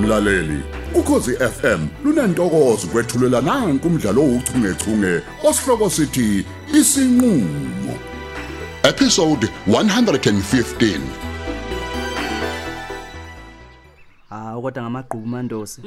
mlaleli ukhosi FM lunantokozo kwethulela nange kumdlalo ouchungechunge osihloko sithi isinqulo episode 115 hawu kodwa ngamagqubu mandosi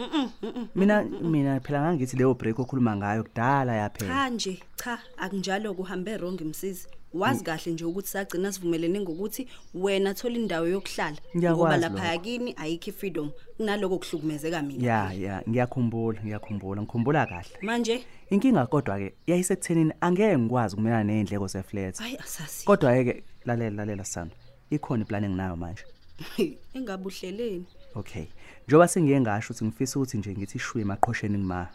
Mm, mina mina phela ngangithi leyo break okhuluma ngayo kudala yaphela cha nje cha akunjalo kuhambe wrong msisi Mm. wazi kahle nje ukuthi sagcina sivumelene ngokuthi wena thola indawo yokuhlala Ngiyakwazi ngoba lokho. lapha yakini ayikho freedom kunaloko kuhlukumezeka mina ya ya ngiyakhumbula ngiyakhumbula ngikhumbula kahle manje inkinga kodwa-ke yayisekuthenini angeke ngikwazi ukumelana ney'ndleko zeflat hayi asasi kodwa-ke lalela lalela sithando ikhona iplani enginayo manje engabuhleleni okay njengoba sengiye ngasho ukuthi ngifisa ukuthi nje ngithi shwe emaqhosheni ngima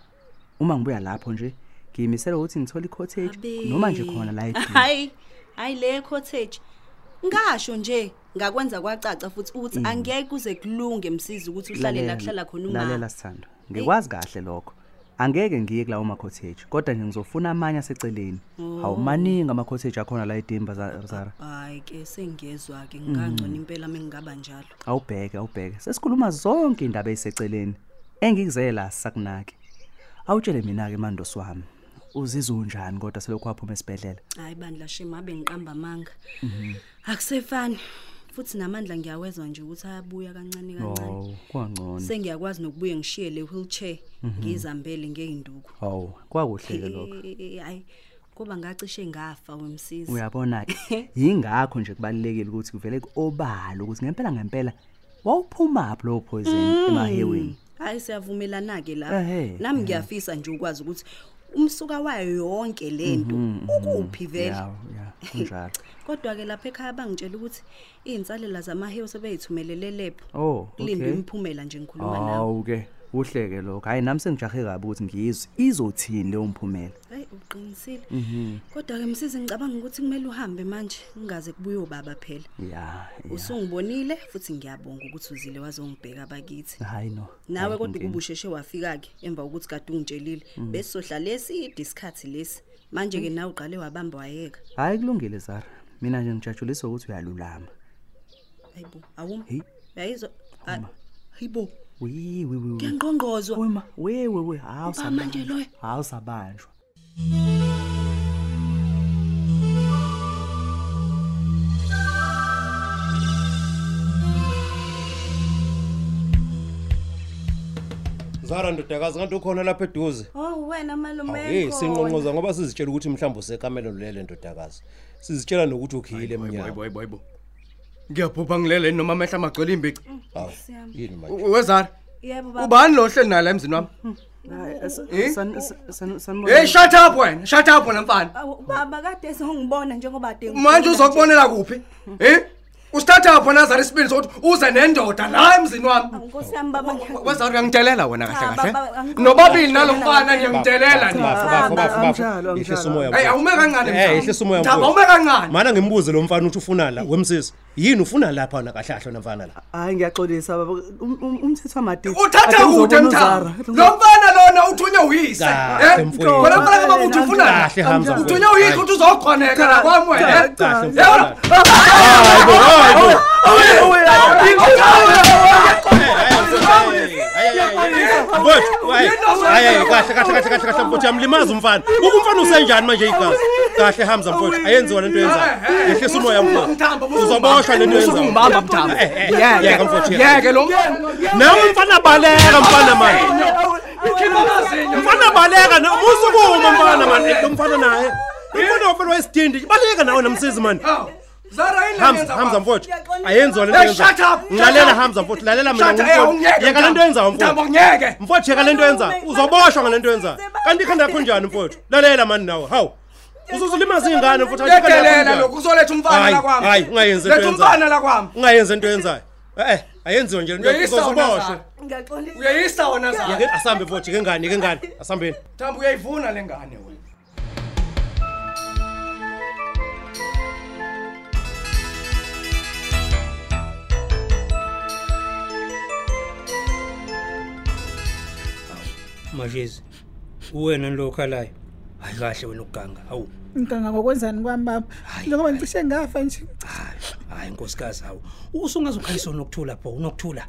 uma ngibuya lapho nje ngiyimisele ukuthi ngithole i-cottage noma nje khona la edini hayi hayi le cottage ngasho nje ngakwenza kwacaca futhi ukuthi angeke kuze kulunge msisi ukuthi uhlale la kuhlala khona Mm. lalela uma sithando ngikwazi kahle lokho angeke ngiye kulawo makhotheji kodwa nje ngizofuna amanye aseceleni Oh. awumaningi amakhotheji akhona la edimba Za- zara hayi ke sengiyezwa ke Mm. ngingangcono impela mengingaba njalo awubheke awubheke sesikhuluma zonke indaba eyiseceleni engikuzele la sakunake awutshele mina-ke mandosi wami uzizwe unjani kodwa selokhu waphuma esibhedlela hayi bandla shema abe ngiqamba amanga Mhm. akusefani futhi namandla ngiyawezwa nje ukuthi ayabuya kancane kancane ow kwangcono sengiyakwazi nokubuye ngishiye le wheelchair Mhm. ngizihambele ngey'nduku ow kwakuhleke lokho Eh, hayi kuba ngacishe ngafa wemsizi uyabona-ke yingakho nje kubalulekile ukuthi kuvele ku-obala ukuthi ngempela ngempela wawuphumaphi lowo poison Mm. emaheweni hayi siyavumelana-ke Ehhe, lapho nami ngiyafisa nje ukwazi ukuthi umsuka wayo yonke le nto ukuphi vele Mhm, ya ya kunjalo kodwa-ke lapha ekhaya bangitshela ukuthi iy'nsalela zamahewu sebeyithumelele lebho Oh, linde okay. Ah, imiphumela nje ngikhuluma nawe hawu-ke kuhleke lokho hhayi nami sengijahe kabi ukuthi ngiyizwe izothini leyo mphumela hayi uqinisile Mhm. kodwa-ke msizi ngicabanga ukuthi kumele uhambe manje ngingaze kubuye ubaba phela ya ya. usungibonile futhi ngiyabonga ukuthi uzile wazongibheka bakithi hhayi no nawe hhayi, kodwa inkinga. ukuba usheshe wafika-ke emva kokuthi kade ungitshelile Mhm. besizohlala eside isikhathi lesi manje-ke nawe uqale wabamba wayeka hhayi kulungile zara mina nje ngijajuliswa ukuthi uyalulama hayi bo awuma Hey. Mm. uyayizwa Ah, hayi bo Wi, wi, wi, wi. ngiyangqongqozwa Wema, we we we hawu Ubaba manje sabanjwa. loyo. hawu sabanjwa zara ndodakazi kanti ukhona lapha eduze oh wena awe malumeko sinqonqoza ngoba sizitshela ukuthi mhlawumbe usekamelo lele ndodakazi sizitshela nokuthi ukhiyile emnyama hayibo hayibo ngiyabhubha ngilele noma amehla amagcwele imbici Awu, yini manje U- wezara yebo baba ubani lo hleli naye la emzini wami Eh? hey sanibona shut up wena shut up wena mfana Awu, baba kade songibona njengoba de manje uzokubonela kuphi eh usithatha phona zara isibindi sokuthi uze nendoda la emzini wami nkosi yami baba ngiya- wezara uyangitshelela wena Cha, kahle kahle baba, angikho- nobabili nalo mfana ngiyanitshelela Bafu, nje bafu, bafu, bafu. Anjalo, anjalo. Yehlisa umoya Hey mfowethu. awume kancane Eh, mfana. yehlisa umoya Thaba, mfowethu. awume kancane mana ngimbuze lo mfana ukuthi ufuna la wemsisi yini ufuna lapha na kahle kahle nomfana la hayi ngiyaxolisa baba Um- um- umthetho wamadidi uthatha kude mthaba lo mfana lona uthunywe uyise Kahle, eh? mfowethu. wena mfana kaba uthi ufuna la Kahle, Hamza, mfowethu. uthunywe uyise ukuthi uzokhoneka la kwami wena eh? Kahle, mfowethu. Yabona? Mfowethu, hayi. Hayi, hayi, kahle kahle kahle kahle kahle mfowethu yamlimaza umfana uke umfana usenjani manje igazi kahle hamza mfowethu ayenziwa lento Eh, yenzayo yehlisa umoya Mthamba, mfowethu busuku- uzoboshwa lento busuku ungibamba, Eh, Mthamba. yenzayo yeka mfowethu yeka. yeke lo nawe mfana baleka mfana mani mfana baleka na- musukuma mfana mani lo mfana naye umfana wafela wayesidindi baleka nawe namsizi mani Oh, hamza hamza mfowethu ayenziwa lento Hey, shut yenzayo up, shut lalela up. hamza mfowethu lalela mina ngumfowethu yeka lento yenzayo mfowethu ngeke mfowethu yeka lento yenzayo uzoboshwa ngale nto yenzayo kanti ikhanda yakho njani mfowethu lalela mani nawe hawu usuzulimaza iy'ngane mfowethu kanti ikhanda yakho yekelela njani? lokhu kuzoletha umfana Hayi, la kwami hayi, ungayenzi into letha yenzayo. umfana la kwami ungayenzi into yenzayo e-e ayenziwa nje lento uyayisa wona uzoboshwa Zara. ngiyaxolisa uyayisa wona Yeke, zara asambe mfowethu yeke ngane yeke ngane asambeni mthamba uyayivuna le ngane wena majezi uwena nilokhalayo hayi kahle wena ukuganga hawu ngiganga ngokwenzani kwami baba njengoba ngicishe ngafa nje hayi nkosikazi hawo usungaze ukhayisona ukuthula pho unokuthula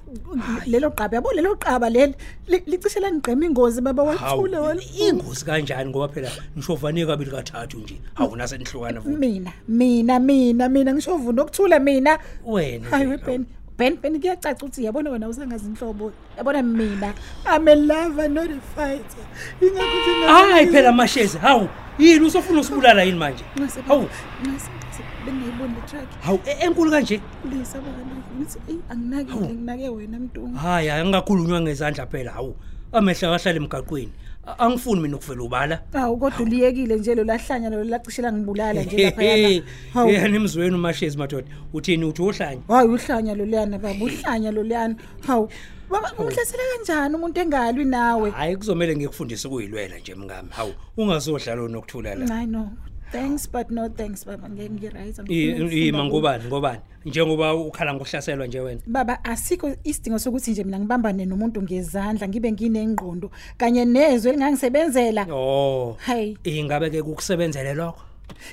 lelo qaba yabo lelo qaba leli li- licishe lanigqema ingozi baba hawu wathule wena. ingozi kanjani ngoba phela nishovane kabili kathathu nje awuna senihlukana futhi mina mina mina mina ngisho vuna okuthula mina wena hayi nje, weben ben ben kuyacaca ukuthi yabona wena usangazi inhlobo yabona mina i'm a lover not a fighter ingakho nje hawu. mina- hayi phela amashezi hawu yini usofuna usibulala yini manje Nxase, hawu nxase, nxase, bengayiboni le track hawu e- enkulu kanje liyisaba kaloku ngithi eyi anginake Hawu. nginginake wena mntungu hayi hayi angakhulunywa ngezandla phela hawu amehla kahlala emgaqweni A- angifuni mina ukuvela ubala hawu kodwa uliyekile nje lolahlanya lolo lacishela ngibulala nje laphayana hawu yena emzweni umashezi madoda uthini uthi uhlanye hayi uhlanya loluyana baba uhlanya loluyana hawu baba umhlasele kanjani umuntu engalwi nawe hayi kuzomele ngikufundise ukuyilwela nje mngami hawu ungazodlala nokuthula la hayi no thanks but no thanks baba ngeke ngi-right I'm I- feeling i- ima sick, ngobani ngobani njengoba ukhala ngokuhlaselwa nje wena baba asikho isidingo sokuthi nje mina ngibambane nomuntu ngezandla ngibe nginengqondo kanye nezwe elingangisebenzela oh hayi ingabe ke kukusebenzele lokho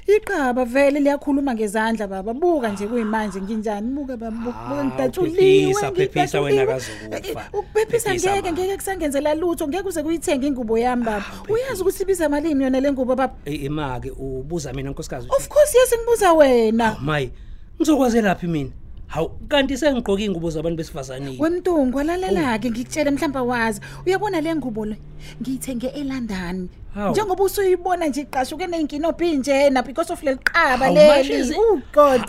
iqaba vele liyakhuluma ngezandla baba buka nje kuyimanje nginjani buka Ah, babuka uphephisa, phephisa wena akazukufa. Eh, ukuphephisa Phephisa, ngeke ma. ngeke kusangenzela lutho ngeke uze kuyithenge ingubo yami baba Ah, uyazi ukuthi ibiza malini yona le ngubo baba I- ima-ke ubuza mina nkosikazi of course yes ngibuza wena mayi ngizokwazelaphi mina hawu kanti sengigqoke iy'ngubo zabantu besifazaneni wemntungu Oh. alalela-ke ngikutshele mhlawumbe wazi uyabona le ngubo le ngiyithenge elondon Hawu. njengoba usuyibona nje iqashuke ney'nkinophi njena because of leli qaba Hawu, leli Oh, mashezi. ugod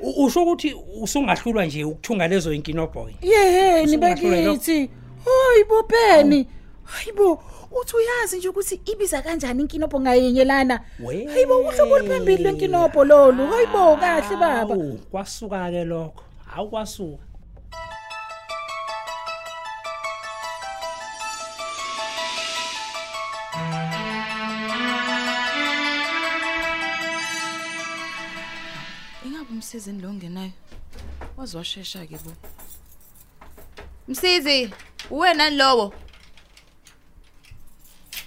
U- usho ukuthi usungahlulwa nje ukuthunga lezo inkinobhoy yeheni Usungahluleka. bakithi hayi bo beni hayi bo uthi uyazi nje ukuthi ibiza kanjani inkinobho ngayinye lana We. hayi bo uhlobo oluphambili lwenkinobho lolu hayi bo kahle baba kwasuka-ke lokho hawu kwasuka ingabe umsizini lo ngenayo waze washesha-ke bo msizi uwenani lowo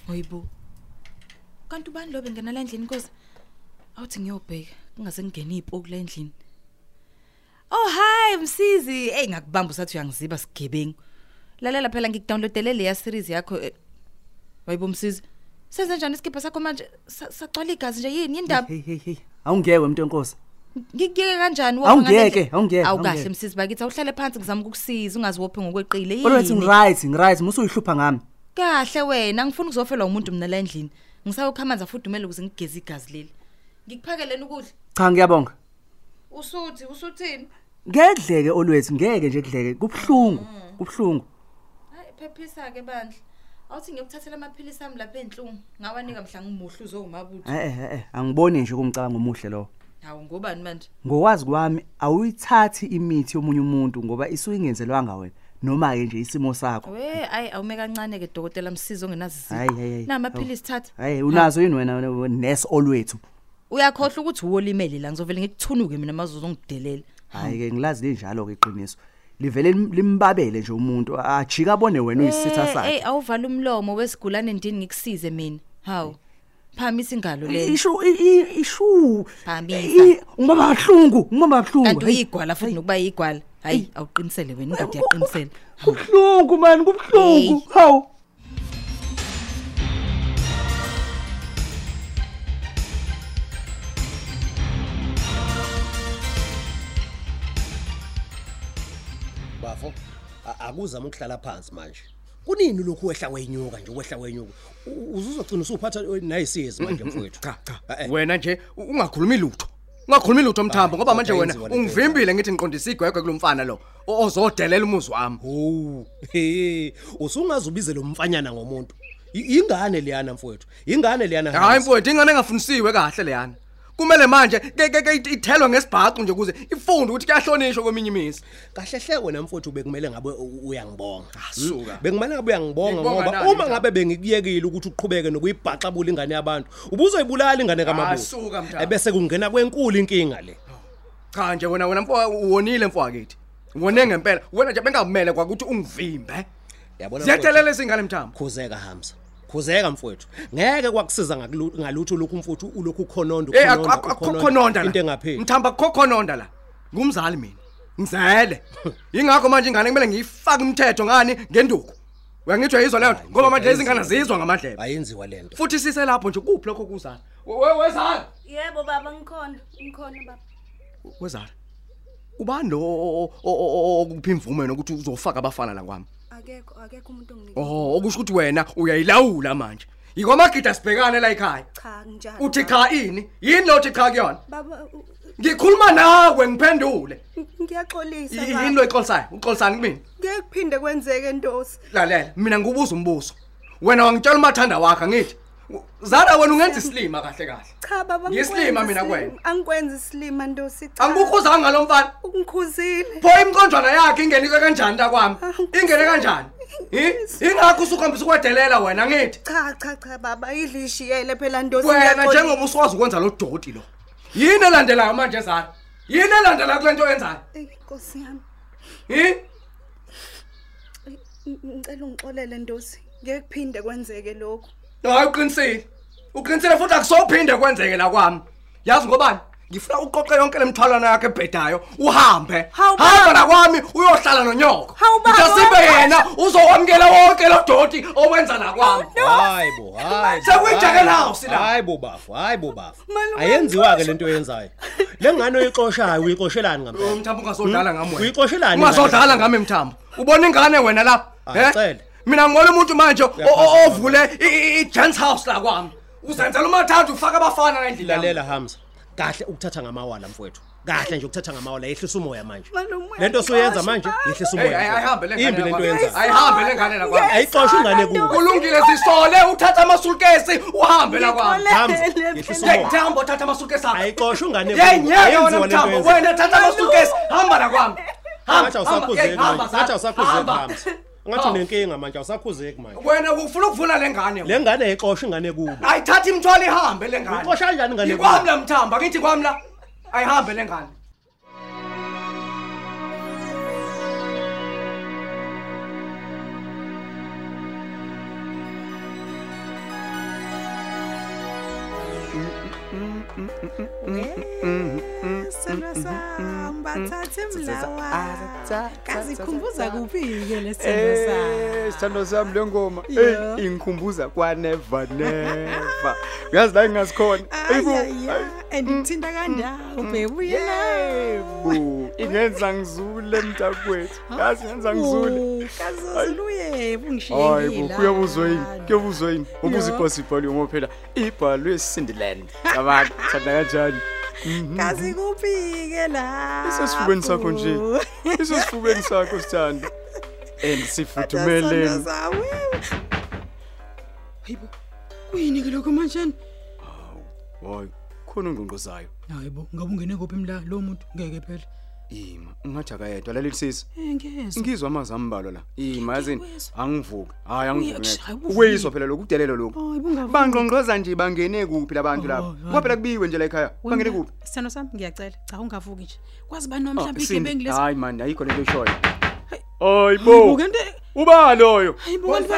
oyibo kanti ubani lo bengena la endlini koza awuthi ngiyobheka kungaze kungene iy'poku la endlini oh hayi msizi eyi ngakubamba usathi uyangiziba sigebengu lalela phela ngikudownloadele leya series yakho eh, wayibo msizi senze njani isikibha sakho manje Sa- sagcwala igazi nje yini yindaba hey hey hey awungeke mntu enkosi ngikuyeke kanjani wopha Awungiyeke, ngale ndlela? awungiyeke, awukahle awungiyeke. msisi bakithi awuhlale phansi ngizama ukukusiza ungaziwophi ngokweqile olwethi yini ngi-right ngi-right musuyihlupha ngami kahle wena ngifuna ukuzofelwa umuntu mina la endlini ngisayokha amanzi afudumele ukuze ngigeze igazi leli ngikuphakeleni ukudla cha ngiyabonga usuthi usuthini ngedleke olwethu ngeke nje kudleke kubhlungu kubhlungu hayi phephisa-ke bandla awuthi ngiyokuthathela amaphilisi ami lapha ey'nhlungu ngawanika mhla ngimuhle uzowumabutho eh eh, eh eh angiboni nje kumcabango omuhle lowo hawu ngobani manje ngokwazi kwami awuyithathi imithi yomunye umuntu ngoba isuke ingenzelwanga wena noma-ke nje isimo Mm. sakho we ayi awume kancane-ke dokotela msizi ongenazizifo Hayi, hayi, hayi. namaphilisi thatha hayi unazo yini wena nes olwethu uyakhohlwa ukuthi uwolimele la ngizovele ngikuthunuke mina mazuzu ongidelela hhayi-ke ngilazi linjalo-ke iqiniso livele lim- limbabele nje umuntu a- ajike abone wena uyisitha eyi sakhe awuvala Eh, umlomo wesigulane ndini ngikusize mina hawu phamisa ingalo leyo ishu i- i- ishu Phamisa. I- ngibamba kabuhlungu ngibamba kabuhlungu kanti hhayi. uyigwala futhi nokuba yigwala hayi awuqinisele wena ingadi yaqinisela kubuhlungu mani kubuhlungu hawu bafo a- akuzama ukuhlala phansi manje kunini lokhu wehla wenyuka nje wehla wenyuka U- uze uzogcina usuphatha nayisiyezi manje mfowethu cha cha Eh, eh. wena nje u- ungakhulumi lutho ungakhulumi lutho mthambo ngoba kodwa manje wena yenziwa Ah, le nto. ungivimbile ngithi ngiqondise igwegwe kulo mfana lo o- ozodelela umuzi wami howu he usungaze ubize lo mfanyana ngomuntu I- ingane leyana mfowethu ingane leyana hayi mfowethu ingane engafundisiwe kahle leyana kumele manje ke- ke- ke it- ithelwe ngesibhaxu nje ukuze ifunde ukuthi kuyahlonishwa kweminye imisi kahle hle wena mfowethu bekumele ngabe u- uyangibonga Ah, suka. Mm. bekumele ngabe uyangibonga Ngikubonga ngoba nani, uma Ntambo? ngabe bengikuyekile ukuthi uqhubeke nokuyibhaxabula ingane yabantu ubuzoyibulala ingane Ah, suka, kamabuzo Ntambo. ebese kungena kwenkulu inkinga le cha nje wena wena mfo uwonile mfowakethu wone ngempela wena nje bengamele kwakuthi ungivimbe Yabona mfowethu? ziyadelela izingane mthambo khuzeka hamza khuzeka mfowethu ngeke kwakusiza ngakulu- ngalutho lokhu mfowethu ulokhu ukhononda Eh, ukhononda, akukho khononda la into engapheli mthambo akukho khononda la ngumzali mina ngizele yingakho manje ingane kumele ngiyifake umthetho ngani ngenduku uyangitshwa yizwa leyo nto? ngoba manje lezi ngane azizwa ngamadlebe ayenziwa lento futhi siselapho nje kuphi lokho kuzala wezala Yebo baba ngikhona, ngikhona baba. wezala ubani lo o- o- o- o- okuphi imvume nokuthi uzofaka abafana la kwami Akekho, akekho umuntu onginike. oh okusho ukuthi wena uyayilawula manje yikwamagida sibhekane la ekhaya Cha, njalo. uthi baba. cha ini yini lo uthi cha kuyona Baba u- ngikhuluma nawe ngiphendule ngiyaxolisa Y- baba. yini lo exolisayo uxolisani kumina Ngeke kuphinde kwenzeke ntosi. lalela mina ngubuza umbuzo wena wangitshela umathanda wakhe ngithi u- zara wena ungenza isilima kahle kahle Cha baba. Ngiyisilima angikwenzi mina isilima. kwena. Angikwenzi isilima ntosi. cha. angikukhuzanga ngalo mfana ungikhuzile. pho imconjwana yakhe ingenike kanjani lakwami ingene kanjani Hi? ingakho usukhambisa ukwedelela wena ngithi Cha cha cha baba idlishiyele phela ntosi. wena ngiyaxolisa. njengoba usukwazi ukwenza lo doti lo yini elandelayo manje zara yini elandela kule nto yenzayo Eyi, Nkosi yami. hi Eyi, ng- Ngicela ungixolele ntosi. Ngeke kuphinde kwenzeke lokho. hayi uqinisile uqinisile futhi akusophinde kwenzeke la kwami yazi ngobani ngifuna uqoqe yonke le mthwalana yakho ebhedayo uhambe Hawu, hamba la kwami uyohlala nonyoko Hawu, baba, sibe yena uzokwamukela wonke lo doti owenza la kwami Oh, hayi bo hayi bo, Sekuyijake hayi nawo bo, sila. hayi bo bafu hayi bo bafu Malume, ayenziwa ke lento yenzayo le ngane oyixoshayo uyixoshelani Yo, ngampela mthambo Hmm? ungazodlala ngami wena Uyixoshelani ungazodlala ingane? ngami mthambo ubona ingane wena lapha Ah, eh? cela. mina ngibona umuntu manje o- o- Uyaphazima. ovule i- i- i-gents house la kwami uzenzela umathatha ufake abafana la endlini yami. lalela hamza kahle ukuthatha ngamawala mfowethu kahle nje ukuthatha ngamawala yehlisa umoya manje Malume, lento osuyenza manje ayixoshi, yehlisa Hey, umoya hey, ayihambe le mfowethu. imbi lento yenza yenzayo ayihambe le ngane la kwami ayixoshe ingane kuwe kulungile sisole uthatha amasulkesi uhambe la kwami hamza Ngixolele yehlisa Hey umoya Mthambo thatha amasulkesi akho. ayixoshe ingane kuwe. Hey nyeke Ayenziwa wena lento Mthambo yenzayo. wena thatha amasulkesi hamba la kwami. Ngathi awusakhuzeki hey, hamba, manje. Ngathi Zara, awusakhuzeki hamba. hamza. Ngathi Hamba. unenkinga manje awusakhuzeki manje. Wena ufuna ukuvula le ngane. Le ngane ayixoshe ingane kuwe. Ayithatha imthwalo ihambe le ngane. Uxosha kanjani ingane kuwe? Ikwamla Mthambo ngithi kwamla. Ayihambe le ngane. Sona sam bathathe Ah, mlawa. Kazikhumbuza kuphi-ke lesono Eh, sithando sami le ngoma eyi ingikhumbuza kwaneva neva uyazi la Mm. engingasikhona Ah, Eyi, bo, sam? Andithinta kanjalo bhebuyela. Mm. yebo ingenza ngizule mntakwethu Ah. yazi ingenza ngizule Oh, Kazoziluye hayi bo bungishiyela. kuyobe uzoyini kuyobe uzoyini ubuza iposi ibhaliwe ngoba phela ibhalwe sindiland abantu thanda kanjani Mhm. Kazi kuphi-ke la? isesifubeni sakho nje isesifubeni sakho sithando and sifuthumeleni Hayibo. Kuyini ke lokho manje? Oh, hayi khona ungqongqozayo Hayibo, ngabe ungene kuphi mla lo muntu? Ngeke phela. ima ungathi akayedwa lalelisisa Ngeke. ngizwa amazwi ambalwa la ima yazini Ngiyakuzwa. angivuki hhayi angivuki Uyakushaya, ngeke. uvuke. ukweyiswa phela lokhu kudelelo lokhu Hayibo ungabe bangqongqoza nje bangene kuphi labantu lapha hayi. kwaphela kubiwe nje la ekhaya bangene kuphi oh, Sithando sami ngiyacela, cha ungavuki nje. Kwazi bani noma Ah, Sindi, hayi mani ayikho lento eshoyo hayi bo Ubukente uba loyo hayibo kanti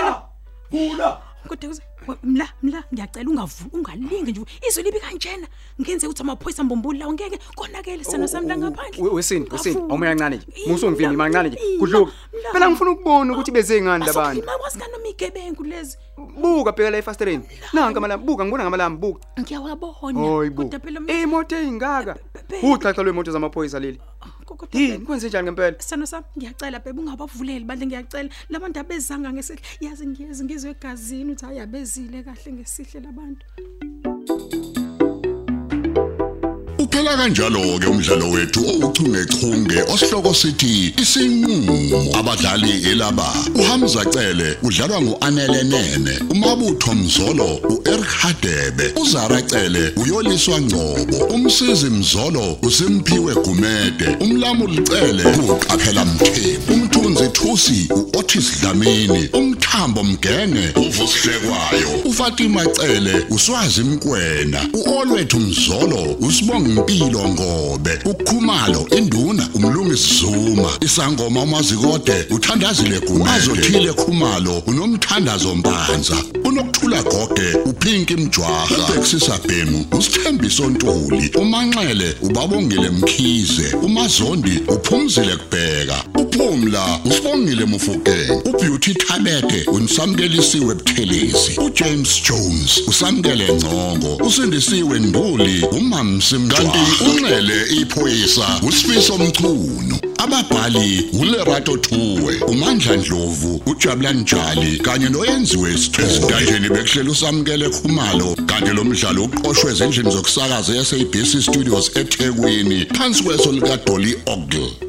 Kula. kodwa kuze we- mla mla ngiyacela ungavu ungalingi nje izwi libi kanjena ngenze ukuthi amaphoyisa mbombuli lawo ngeke konakele sano sami la ngaphandle We- wesindi wesindi Ungavuki. awumoya kancane nje Ima, musongivini mancane nje ima, kudluka mla. phela ngifuna ukubona ukuthi beze ngani labantu Asokhuluma kwazi kanoma iy'gebengu lezi buka bheka la efasitereni nanka amalambu buka ngibona ngamalambu buka ngiyawabona hayi bo kodwa phela mina- imoto eyingaka Be- be- uxaxa lwemoto zamaphoyisa leli ko- kodwa phela- yini kwenze njani ngempela sano sami ngiyacela bebe ungabavuleli bandle ngiyacela labantu abezanga ngesihle yazi ngiyezi ngizwe egazini ukuthi hhayi abezile kahle ngesihle labantu Uphela kanjalo ke umdlalo wethu owuchungechunge osihloko sithi isinqulo abadlali elaba uHamza Cele udlalwa nguAnele Nene uMabutho Mzolo uEric Hadebe uZara Cele uyoliswa Ngcobo umsizi Mzolo uSimphiwe Gumede umlamuli Cele uqaphela Mthembu umthunzi Thusi uOtis Dlamini umthambo Mgenge uvusihlekwayo uFatima Cele uswazi Mkwena uOlwethu Mzolo usibonga impilo ngobe ukhumalo induna umlungisi Zuma isangoma umazikode uthandazile gume azothile khumalo unomthandazo mpanza unokuthula gogwe uphinki mjwaha ubhexisa bhemu usithembiso ntuli umanxele ubabongile mkhize umazondi uphumzile kubheka uphumla usibongile mufukeni ubeauty thabete unisamkelisiwe buthelezi ujames jones usamkele ngcongo usindisiwe nduli umamsimkanti unxele iphoyisa usifiso mchunu ababhali ulerato thuwe umandla ndlovu ujabulani njali kanye noyenziwe esitanjeni bekuhlela usamkele khumalo kanti lo mdlalo uqoshwe ezindlini zokusakaza yasabc studios ethekwini phansi kweso likadoli ogle